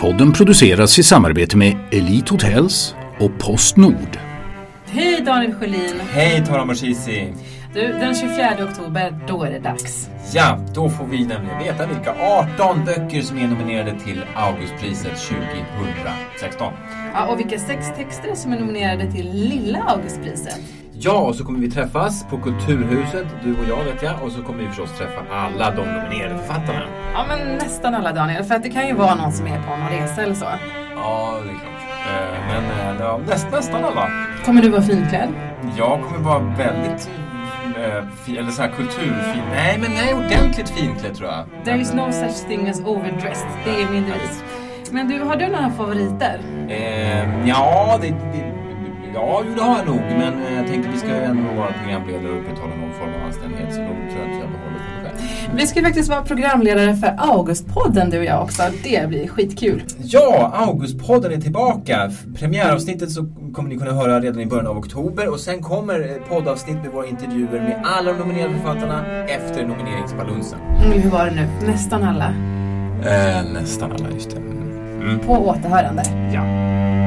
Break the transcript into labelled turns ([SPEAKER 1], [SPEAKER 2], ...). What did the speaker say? [SPEAKER 1] Podden produceras i samarbete med Elite Hotels och Postnord.
[SPEAKER 2] Hej Daniel Sjölin!
[SPEAKER 3] Hej Tara Moshizi!
[SPEAKER 2] Du, den 24 oktober, då är det dags.
[SPEAKER 3] Ja, då får vi nämligen veta vilka 18 böcker som är nominerade till Augustpriset 2016.
[SPEAKER 2] Ja, och vilka sex texter som är nominerade till Lilla Augustpriset.
[SPEAKER 3] Ja, och så kommer vi träffas på Kulturhuset, du och jag vet jag, och så kommer vi förstås träffa alla de nominerade författarna.
[SPEAKER 2] Ja, men nästan alla Daniel, för att det kan ju vara någon som är på någon resa eller så.
[SPEAKER 3] Ja, det är klart. Eh, Men eh, ja, näst, nästan alla.
[SPEAKER 2] Kommer du vara finklädd?
[SPEAKER 3] Jag kommer vara väldigt eh, fin, eller så här kulturfin. Nej, men nej, ordentligt finklädd tror jag.
[SPEAKER 2] There is no such thing as overdressed, det är min devis. Men du, har du några favoriter?
[SPEAKER 3] Eh, ja, det, det, ja, jo, det har jag nog. Men eh, jag tänkte vi ska ju ändå vara programledare och upprätthålla någon form av anständighet. Så då tror jag att jag behåller det själv.
[SPEAKER 2] Vi ska ju faktiskt vara programledare för Augustpodden du och jag också. Det blir skitkul.
[SPEAKER 3] Ja, Augustpodden är tillbaka. Premiäravsnittet så kommer ni kunna höra redan i början av oktober. Och sen kommer eh, poddavsnitt med våra intervjuer med alla de nominerade författarna efter nomineringsbalansen.
[SPEAKER 2] Mm, hur var det nu? Nästan alla.
[SPEAKER 3] Eh, nästan alla, just det.
[SPEAKER 2] På återhörande.
[SPEAKER 3] Ja.